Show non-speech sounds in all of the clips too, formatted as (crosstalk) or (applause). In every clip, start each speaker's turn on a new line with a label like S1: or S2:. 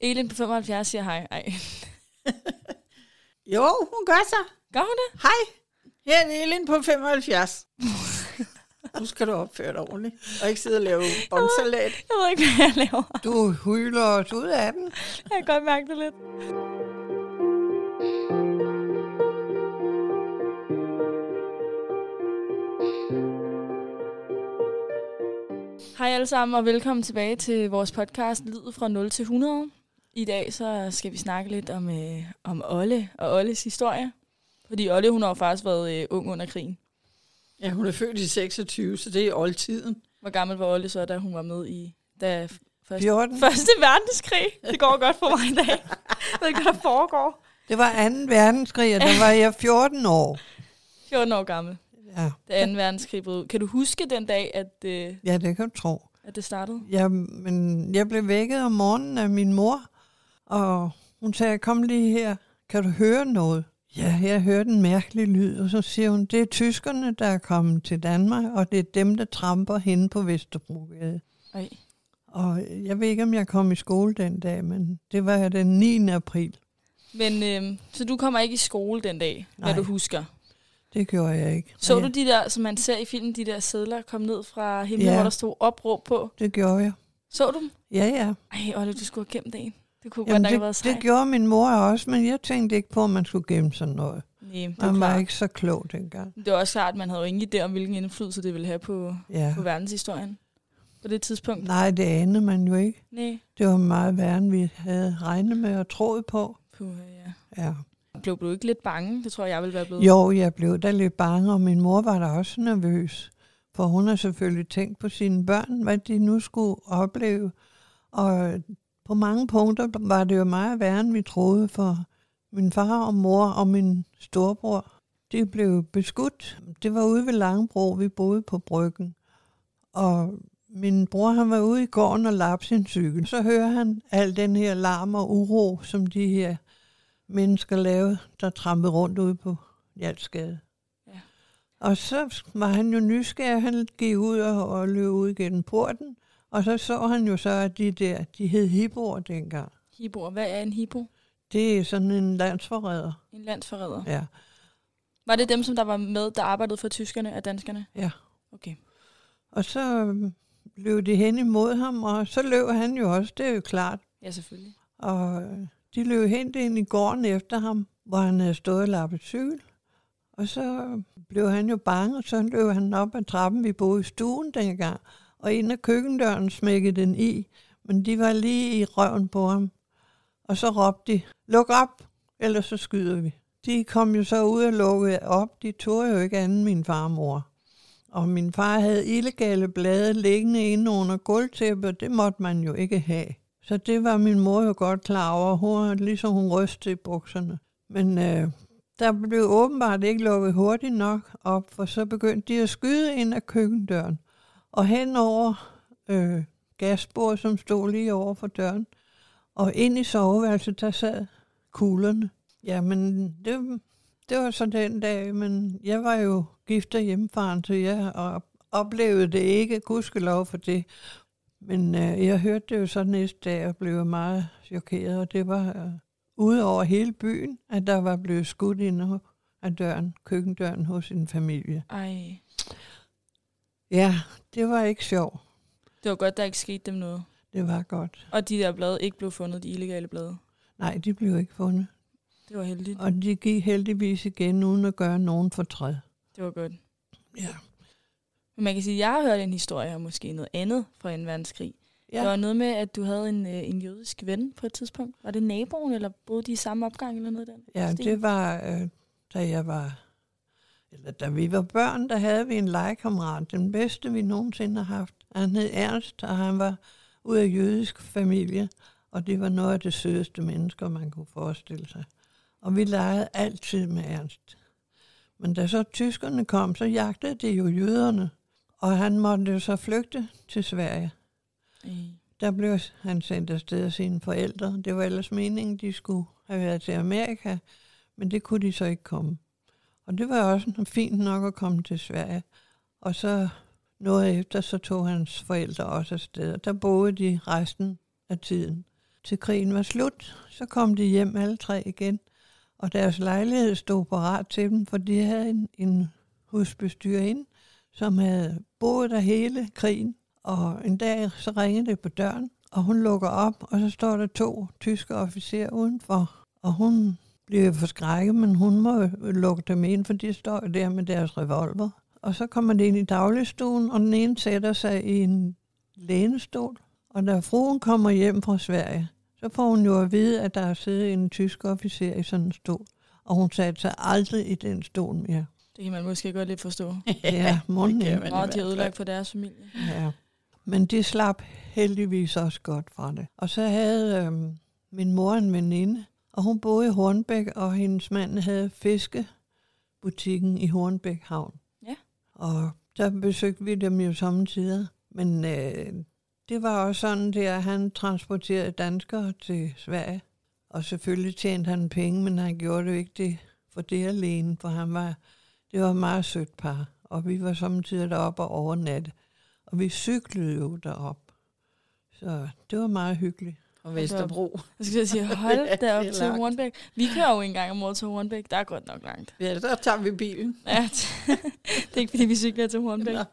S1: Elin på 75 siger hej. Ej.
S2: Jo, hun gør sig.
S1: Gør hun det?
S2: Hej, her er Elin på 75. nu skal du opføre dig ordentligt, og ikke sidde og lave båndsalat.
S1: Jeg ved ikke, hvad jeg laver.
S3: Du hyler os ud af den.
S1: Jeg kan godt mærke det lidt. Hej alle sammen, og velkommen tilbage til vores podcast Livet fra 0 til 100. I dag så skal vi snakke lidt om, øh, om Olle og Olles historie. Fordi Olle, hun har jo faktisk været øh, ung under krigen.
S2: Ja, hun er født i 26, så det er oldtiden.
S1: Hvor gammel var Olle så, da hun var med i da første,
S3: 14.
S1: første verdenskrig? Det går godt for mig i dag. Jeg ved ikke, hvad der foregår.
S3: Det var 2. verdenskrig, og der var jeg 14 år.
S1: 14 år gammel,
S3: Ja,
S1: da 2. verdenskrig brød ud. Kan du huske den dag, at, øh,
S3: ja det kan du tro.
S1: at det startede?
S3: Ja, men jeg blev vækket om morgenen af min mor, og hun sagde, kom lige her, kan du høre noget? Ja, jeg hørte en mærkelig lyd, og så siger hun, det er tyskerne, der er kommet til Danmark, og det er dem, der tramper hende på Vesterbrogade.
S1: Ej.
S3: Og jeg ved ikke, om jeg kom i skole den dag, men det var den 9. april.
S1: Men øh, så du kommer ikke i skole den dag, Nej.
S3: Nej.
S1: hvad du husker.
S3: Det gjorde jeg ikke.
S1: Så
S3: Ja,
S1: du de der, som man ser i filmen, de der sædler kom ned fra himlen,
S3: Ja.
S1: hvor der stod opråb på?
S3: Det gjorde jeg.
S1: Så du dem?
S3: Ja, ja.
S1: Ej, Olle, du skulle have gemt en. Det kunne Jamen godt nok have været
S3: det,
S1: sejt.
S3: det gjorde min mor også, men jeg tænkte ikke på, at man skulle gemme sådan noget.
S1: Nej, det var
S3: Man var
S1: klart.
S3: ikke så klog dengang.
S1: Det var også klart, at man havde jo ingen idé om, hvilken indflydelse det ville have på,
S3: Ja.
S1: på verdenshistorien på det tidspunkt.
S3: Nej, det anede man jo ikke.
S1: Nej.
S3: Det var meget værre, end vi havde regnet med og troet på.
S1: Puh, ja.
S3: Ja.
S1: Blev du ikke lidt bange? Det tror jeg, jeg ville være blevet.
S3: Jo, jeg blev da lidt bange, og min mor var da også nervøs. For hun har selvfølgelig tænkt på sine børn, hvad de nu skulle opleve. Og på mange punkter var det jo meget værre, end vi troede, for min far og mor og min storebror, de blev beskudt. Det var ude ved Langebro, vi boede på bryggen. Og min bror, han var ude i gården og lappede sin cykel. Så hører han al den her larm og uro, som de her mennesker lavede, der trampede rundt ude på Hjalsgade.
S1: Ja.
S3: Ja. Og så var han jo nysgerrig, han gik ud og, og løb ud gennem porten, og så så han jo så, at de der, de hed Hibor dengang.
S1: Hiboer. Hvad er en hibo?
S3: Det er sådan en landsforræder.
S1: En landsforræder.
S3: Ja.
S1: Var det dem, som der var med, der arbejdede for tyskerne og danskerne?
S3: Ja.
S1: Okay.
S3: Og så øhm, løb de hen imod ham, og så løb han jo også, det er jo klart.
S1: Ja, selvfølgelig.
S3: Og øh, de løb hen ind i gården efter ham, hvor han havde stået og lappet cykel. Og så blev han jo bange, og så løb han op ad trappen, vi boede i stuen dengang. Og ind ad køkkendøren smækkede den i, men de var lige i røven på ham. Og så råbte de, luk op, ellers så skyder vi. De kom jo så ud og lukkede op, de tog jo ikke andet end min farmor. Og min far havde illegale blade liggende inde under gulvtæppet, det måtte man jo ikke have. Så det var min mor jo godt klar over, hun, ligesom hun rystede i bukserne. Men øh, der blev åbenbart ikke lukket hurtigt nok op, for så begyndte de at skyde ind ad køkkendøren. Og hen over øh, gasbord, som stod lige over for døren. Og ind i soveværelset, der sad kuglerne. Jamen, det, det var så den dag, men jeg var jo gift og hjemmefaren, så jeg og oplevede det ikke, gudskelov for det. Men øh, jeg hørte det jo så næste dag og blev meget chokeret, og det var øh, ude over hele byen, at der var blevet skudt ind af døren, køkkendøren hos en familie.
S1: Ej.
S3: Ja, det var ikke sjovt.
S1: Det var godt, der ikke skete dem noget.
S3: Det var godt.
S1: Og de der blade ikke blev fundet, de illegale blade.
S3: Nej, de blev ikke fundet.
S1: Det var heldigt.
S3: Og de gik heldigvis igen, uden at gøre nogen fortræd.
S1: Det var godt.
S3: Ja.
S1: Men man kan sige, at jeg har hørt en historie om måske noget andet fra 2. verdenskrig. Ja. Der
S3: ja.
S1: var noget med, at du havde en, øh, en jødisk ven på et tidspunkt. Var det naboen, eller boede de i samme opgang, eller noget af den?
S3: Ja,
S1: stil?
S3: det var, øh, da jeg var, eller da vi var børn, der havde vi en legekammerat, den bedste vi nogensinde har haft. Han hed Ernst, og han var ud af jødisk familie, og det var noget af det sødeste mennesker, man kunne forestille sig. Og vi legede altid med Ernst. Men da så tyskerne kom, så jagtede de jo jøderne, og han måtte jo så flygte til Sverige.
S1: Ej.
S3: Der blev han sendt afsted af sine forældre. Det var ellers meningen, de skulle have været til Amerika, men det kunne de så ikke komme. Og det var også fint nok at komme til Sverige. Og så noget efter, så tog hans forældre også afsted, og der boede de resten af tiden. til krigen var slut, så kom de hjem alle tre igen, og deres lejlighed stod parat til dem, for de havde en, en husbestyrerinde, som havde boet der hele krigen. Og en dag så ringede det på døren, og hun lukker op, og så står der to tyske officerer udenfor. Og hun bliver forskrækket, men hun må lukke dem ind, for de står jo der med deres revolver. Og så kommer de ind i dagligstuen, og den ene sætter sig i en lænestol. Og da fruen kommer hjem fra Sverige, så får hun jo at vide, at der har siddet en tysk officer i sådan en stol. Og hun satte sig aldrig i den stol
S2: (laughs)
S3: mere.
S1: Det kan man måske godt lidt forstå.
S3: Ja, munden
S2: det kan
S3: ikke.
S2: man i
S1: Nå, de har
S2: hvert
S1: ødelagt for deres familie.
S3: Ja. Men det slap heldigvis også godt fra det. Og så havde øhm, min mor en veninde, og hun boede i Hornbæk, og hendes mand havde fiskebutikken i Hornbæk Havn.
S1: Ja.
S3: Og der besøgte vi dem jo samtidig. Men øh, det var også sådan, der, at han transporterede danskere til Sverige. Og selvfølgelig tjente han penge, men han gjorde det jo ikke det for det alene, for han var, det var et meget sødt par. Og vi var samtidig deroppe og overnatte. Og vi cyklede jo derop. Så det var meget hyggeligt.
S2: På Vesterbro.
S1: Jeg skal til at
S2: (laughs)
S1: sige,
S2: Ja,
S1: hold
S2: det
S1: da
S2: er
S1: op til
S2: langt.
S1: Hornbæk. Vi kører jo en gang om året til Hornbæk. Der er godt nok langt.
S2: Ja, der tager vi bilen.
S1: Ja, (laughs) det er ikke, fordi vi cykler til Hornbæk.
S2: Nej,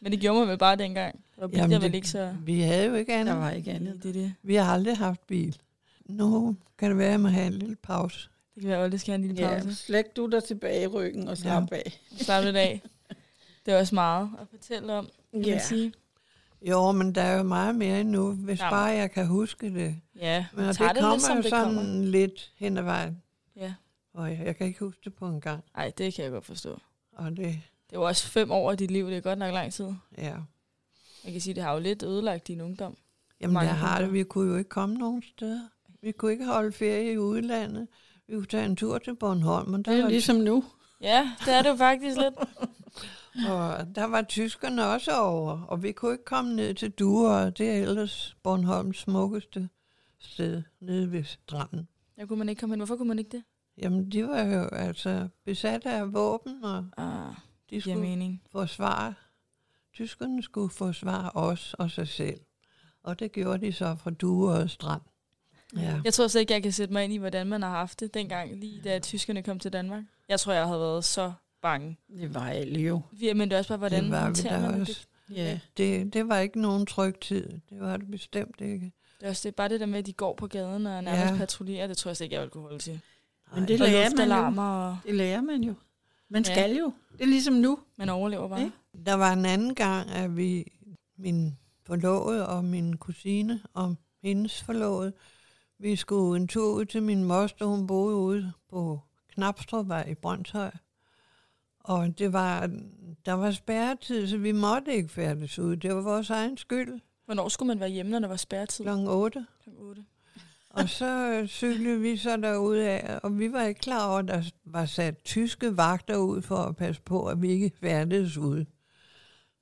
S1: Men det gjorde man vel bare dengang. Der var
S3: Jamen,
S1: der vel
S3: det-
S1: ikke så...
S3: Vi havde jo ikke
S2: der
S3: andet.
S2: var ikke andet.
S1: Det, er det,
S3: Vi har aldrig haft bil. Nu kan det være, at jeg må have en lille pause.
S1: det kan være, at Olle skal have en lille
S2: Ja,
S1: pause.
S2: slæk du dig tilbage i ryggen og slap af.
S1: Ja. Slap lidt af. Det er også meget at fortælle om, kan
S2: Ja.
S1: man sige.
S3: Jo, men der er jo meget mere endnu, hvis
S1: Jamen.
S3: bare jeg kan huske det.
S1: Ja,
S3: Men og det
S1: tager
S3: kommer
S1: lidt, som
S3: jo
S1: det
S3: sådan
S1: kommer.
S3: lidt hen ad vejen.
S1: Ja.
S3: Og jeg, jeg kan ikke huske det på en gang.
S1: Ej, det kan jeg godt forstå.
S3: Og det,
S1: Det var også fem år af dit liv, det er godt nok lang tid.
S3: ja.
S1: Man kan sige, det har jo lidt ødelagt din ungdom.
S3: Jamen,
S1: Mange
S3: jeg har
S1: hundrede.
S3: det. Vi kunne jo ikke komme nogen steder. Vi kunne ikke holde ferie i udlandet. Vi kunne tage en tur til Bornholm, og der,
S2: Det er
S3: var,
S2: ligesom nu.
S1: Ja, det er det jo faktisk
S2: (laughs)
S1: lidt.
S3: og der var tyskerne også over, og vi kunne ikke komme ned til Duer, det er ellers Bornholms smukkeste sted nede ved stranden.
S1: Der kunne man ikke komme hen. Hvorfor kunne man ikke det?
S3: Jamen, de var jo altså besat af våben, og
S1: Ah,
S3: de
S1: giver
S3: skulle
S1: mening.
S3: forsvare, tyskerne skulle forsvare os og sig selv. Og det gjorde de så fra Duer Strand. Ja.
S1: Jeg tror slet ikke, jeg kan sætte mig ind i, hvordan man har haft det dengang, lige da tyskerne kom til Danmark. Jeg tror, jeg havde været så bange.
S2: Det var alle jo.
S1: Vi- Men det er også bare, hvordan
S3: det var vi
S1: håndterer
S3: da
S1: man
S3: også.
S1: det?
S2: Ja.
S3: Det, det var ikke nogen tryg tid. Det var det bestemt ikke.
S1: Det er også det, bare det der med, at de går på gaden og nærmest
S3: Ja.
S1: ja. patruljerer, det tror jeg slet ikke, jeg ville kunne holde til.
S2: Men det
S1: Og
S2: lærer man jo.
S1: luftalarmer, og
S2: Det lærer man jo. Man
S1: Ja.
S2: skal jo. Det er ligesom nu.
S1: man overlever bare.
S2: Ikke?
S3: Der var en anden gang, at vi, min forlovede og min kusine og hendes forlovede, vi skulle en tur ud til min moster, hun boede ude på Knapstrupvej i Brøndshøj. Og det var, der var spærretid, så vi måtte ikke færdes ud. Det var vores egen skyld,
S1: Hvornår skulle man være hjemme, når der var spærretid?
S3: kl. 8.
S1: Klokken otte.
S3: Og så øh, cyklede vi så derude af, og vi var ikke klar over, at der var sat tyske vagter ud for at passe på, at vi ikke færdedes ude.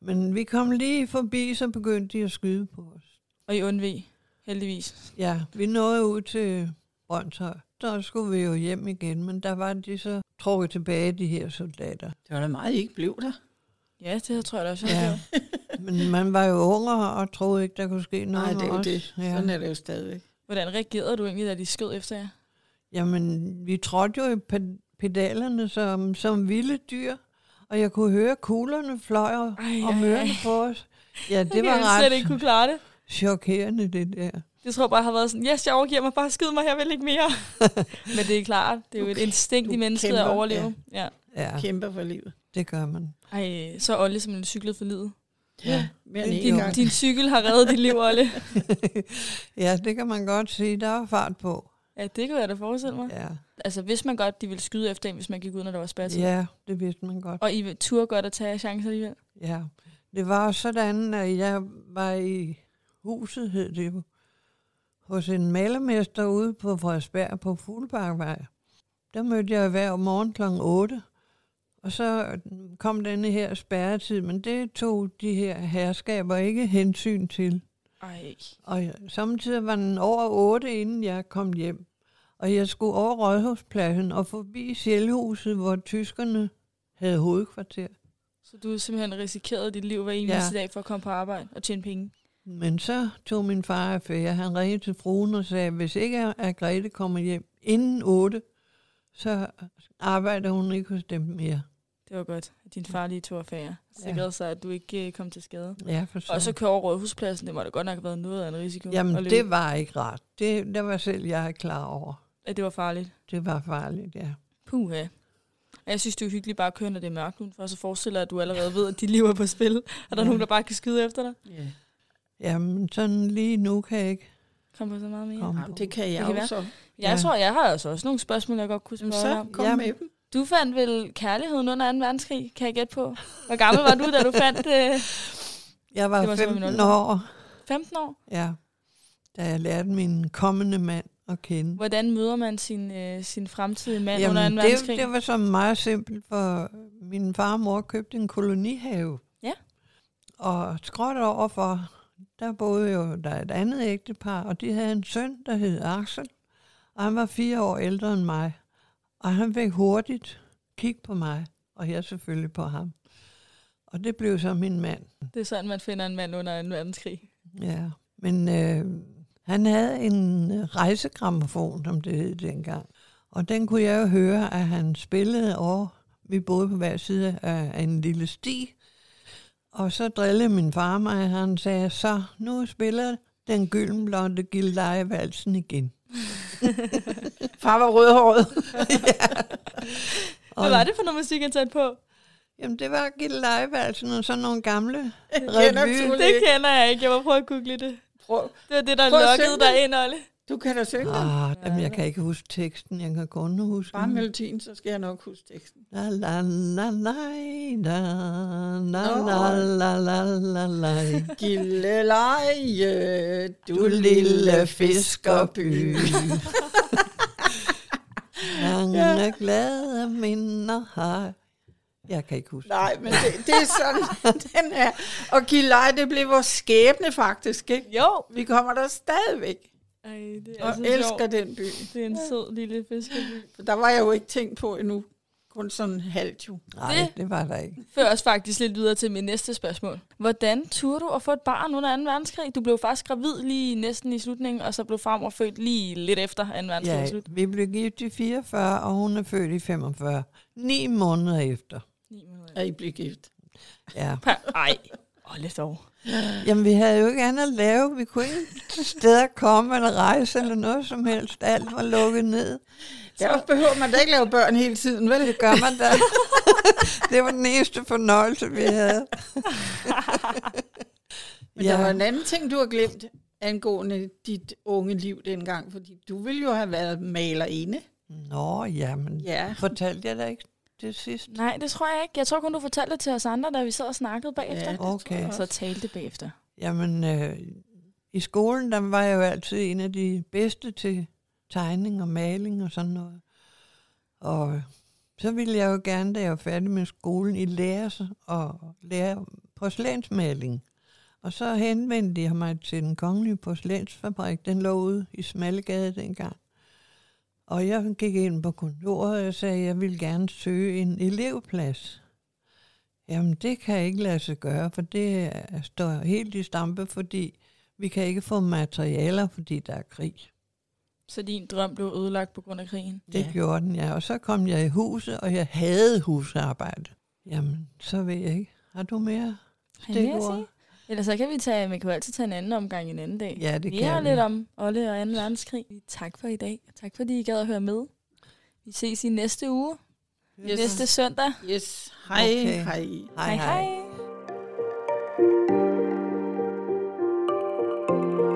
S3: Men vi kom lige forbi, så begyndte de at skyde på os.
S1: Og I undvig, heldigvis.
S3: Ja, vi nåede ud til Brøndshøj. Så skulle vi jo hjem igen, men der var de så trukket tilbage, de her soldater.
S2: Det var da meget, I ikke blev der.
S1: Ja, det tror jeg da også.
S3: Ja.
S1: Ja.
S3: Men man var jo unger og troede ikke, der kunne ske noget
S2: Nej, det
S3: med
S2: er jo
S3: os.
S2: det.
S3: Ja.
S2: Sådan er det jo stadigvæk.
S1: Hvordan reagerede du egentlig, da de skød efter jer?
S3: Jamen, vi trådte jo i pe- pedalerne som, som vilde dyr, og jeg kunne høre kuglerne fløj og
S1: Ej,
S3: og
S1: ej,
S3: mørne
S1: ej.
S3: på os. Ja, det
S1: jeg
S3: var
S1: ville slet ikke
S3: ret
S1: kunne klare det.
S3: chokerende, det der.
S1: Det tror jeg bare har været sådan, yes, jeg overgiver mig, bare skid mig, jeg vil ikke mere. Men det er klart, det er jo et instinkt i
S2: du
S1: mennesket at
S2: kæmper,
S1: overleve. Ja. ja.
S3: Ja,
S2: Kæmper for livet.
S3: det gør man. (laughs)
S1: Ej, så er Olle simpelthen cyklet for livet.
S3: Ja.
S2: Mere end
S3: Det er
S2: en
S1: Din,
S2: gang.
S1: din cykel har reddet dit liv, Olle.
S3: ja, det kan man godt sige. Der var fart på.
S1: Ja, det kunne jeg da forestille mig.
S3: Ja,
S1: Altså, hvis man godt, de ville skyde efter en, hvis man gik ud, når der var spærtid.
S3: ja det vidste man godt.
S1: Og I turde godt at tage chancer alligevel.
S3: Ja. Det var sådan, at jeg var i huset, hed det jo, hos en malermester ude på Frederiksberg på Fuglebakkevej. Der mødte jeg hver morgen kl. 8, og så kom denne her spærretid, men det tog de her herskaber ikke hensyn til.
S1: Ej,
S3: Og jeg- samtidig var den over 8, inden jeg kom hjem. Og jeg skulle over Rådhuspladsen og forbi Sjælhuset, hvor tyskerne havde hovedkvarter.
S1: så du simpelthen risikerede dit liv hver
S3: Ja.
S1: eneste ja. dag for at komme på arbejde og tjene penge.
S3: Men så tog min far affære. Han ringede til fruen og sagde, hvis ikke at Grete kommer hjem inden 8, så arbejder hun ikke hos dem mere.
S1: Det var godt, at din far lige tog affære. Sikrede ja. sig, at du ikke øh, kom til skade.
S3: Ja, for
S1: Og så kører over Rådhuspladsen. Det må da godt nok have været noget af en risiko.
S3: Jamen,
S1: at løbe.
S3: det var ikke rart. Det, det var selv jeg klar over.
S1: At det var farligt.
S3: Det var farligt, ja.
S1: Puha. Og jeg synes, det er hyggeligt bare at køre, når det er mørkt udenfor, så forestiller jeg, at du allerede ved, at de lever på spil. Er der
S3: Ja.
S1: nogen, der bare kan skyde efter dig?
S2: Ja.
S3: Jamen, sådan lige nu kan jeg ikke
S1: Kom på så meget mere.
S3: komme
S2: Jamen,
S3: på.
S2: det kan jeg
S1: Det kan
S2: jo
S1: være.
S2: så.
S1: Jeg
S3: Ja.
S1: tror, jeg har altså også nogle spørgsmål, jeg godt kunne
S2: Jamen,
S1: spørge dig
S2: så
S1: om.
S2: kom
S3: Ja.
S2: med dem.
S1: Du fandt vel kærligheden under 2. verdenskrig, kan jeg gætte på. Hvor gammel var du, da du fandt øh,
S3: Jeg
S1: Det var
S3: var
S1: så min
S3: 15
S1: oldemor.
S3: år,
S1: 15 år?
S3: ja, da jeg lærte min kommende mand at kende.
S1: Hvordan møder man sin, øh, sin fremtidige mand Jamen, under 2.
S3: Jamen, det,
S1: verdenskrig?
S3: det var så meget simpelt, for min far og mor købte en kolonihave.
S1: Ja.
S3: Og skråt overfor, der boede jo der et andet ægtepar, og de havde en søn, der hed Axel. Og han var fire år ældre end mig. Og han fik hurtigt kig på mig, og jeg selvfølgelig på ham. Og det blev så min mand.
S1: det er sådan, man finder en mand under 2. verdenskrig.
S3: Ja, men øh, han havde en rejsegramofon, som det hed dengang. Og den kunne jeg jo høre, at han spillede over. Vi boede på hver side af en lille sti. Og så drillede min far mig, og han sagde, så nu spiller den gyldenblonde gildlejevalsen igen.
S2: Far var (laughs) rødhåret.
S1: Hvad var det for noget musik, han satte på?
S3: Jamen, det var gildlejevalsen og sådan nogle gamle
S2: Genoptog
S1: Det
S2: det.
S1: kender jeg ikke. Jeg må prøve at google det.
S2: Prøv.
S1: Det var det, der
S2: Prøv at synge
S1: lokkede
S2: den.
S1: dig ind, Olle.
S2: Du kan da synge den.
S3: Ah, jamen, jeg kan ikke huske teksten, jeg kan kun huske
S2: Bare
S3: den.
S2: melodien, så skal jeg nok huske teksten.
S3: La la la la la la
S2: Nå.
S3: la la la la la
S2: Gilleleje, du lille fiskerby.
S3: Mange glade minder har jeg. kan ikke huske.
S2: Nej, men det, det er sådan, (laughs) den er. Og Gilleleje, det blev vores skæbne faktisk, ikke?
S1: Jo.
S2: Vi kommer der stadigvæk
S1: Ej, det er
S2: og
S1: altså
S2: elsker
S1: sjovt.
S2: den by.
S1: Det er en sød lille fiskeby.
S2: For der var jeg jo ikke tænkt på endnu. Kun sådan halvt jo.
S3: Nej, det var der ikke.
S1: Fører os faktisk lidt videre til mit næste spørgsmål. Hvordan turde du at få et barn under 2. verdenskrig? Du blev faktisk gravid lige næsten i slutningen, og så blev farmor født lige lidt efter 2. verdenskrig ja.
S3: Ja,
S1: slut.
S3: vi blev gift i 44, og hun er født i 45. Ni måneder efter.
S1: Ni minutter.
S2: at I blev gift.
S3: Ja.
S1: Ej, åh, lidt over.
S3: Jamen, vi havde jo ikke andet at lave. Vi kunne ikke steder komme eller rejse eller noget som helst. Alt var lukket ned.
S2: Der behøver man da ikke lave børn hele tiden, vel?
S3: Det gør man da. (laughs) det var den eneste fornøjelse, vi havde.
S2: Men ja. der var en anden ting, du har glemt angående dit unge liv dengang, fordi du ville jo have været malerinde.
S3: Nå, jamen.
S2: Ja.
S3: Fortalte jeg da ikke det sidste?
S1: Nej, det tror jeg ikke. Jeg tror kun, du fortalte det til os andre, da vi sad og snakkede bagefter.
S2: Ja,
S1: Ja.
S3: Okay.
S1: Og så talte bagefter.
S3: Jamen, øh, i skolen, der var jeg jo altid en af de bedste til tegning og maling og sådan noget. Og øh, så ville jeg jo gerne, da jeg var færdig med skolen, i lære s- og lære porcelænsmaling. Og så henvendte jeg mig til den kongelige porcelænsfabrik. Den lå ude i Smallegade dengang. Og jeg gik ind på kontoret, og jeg sagde, at jeg ville gerne søge en elevplads. Jamen, det kan jeg ikke lade sig gøre, for det er- står helt i stampe, fordi vi kan ikke få materialer, fordi der er krig.
S1: Så din drøm blev ødelagt på grund af krigen.
S3: Det ja. gjorde den, ja. Og så kom jeg i huset, og jeg havde husarbejde. Jamen, så ved jeg ikke. Har du mere
S1: Har jeg mere at
S3: stikord?
S1: Ellers så kan vi tage, man kan jo altid tage en anden omgang en anden dag.
S3: Ja, det
S1: Vi
S3: kan
S1: har
S3: vi.
S1: lidt om Olle og 2. verdenskrig. Tak for i dag. Tak fordi I gad at høre med. Vi ses i næste uge.
S2: Yes.
S1: Næste søndag.
S2: Yes. Hej, okay.
S3: Okay.
S2: hej.
S1: hej. hej.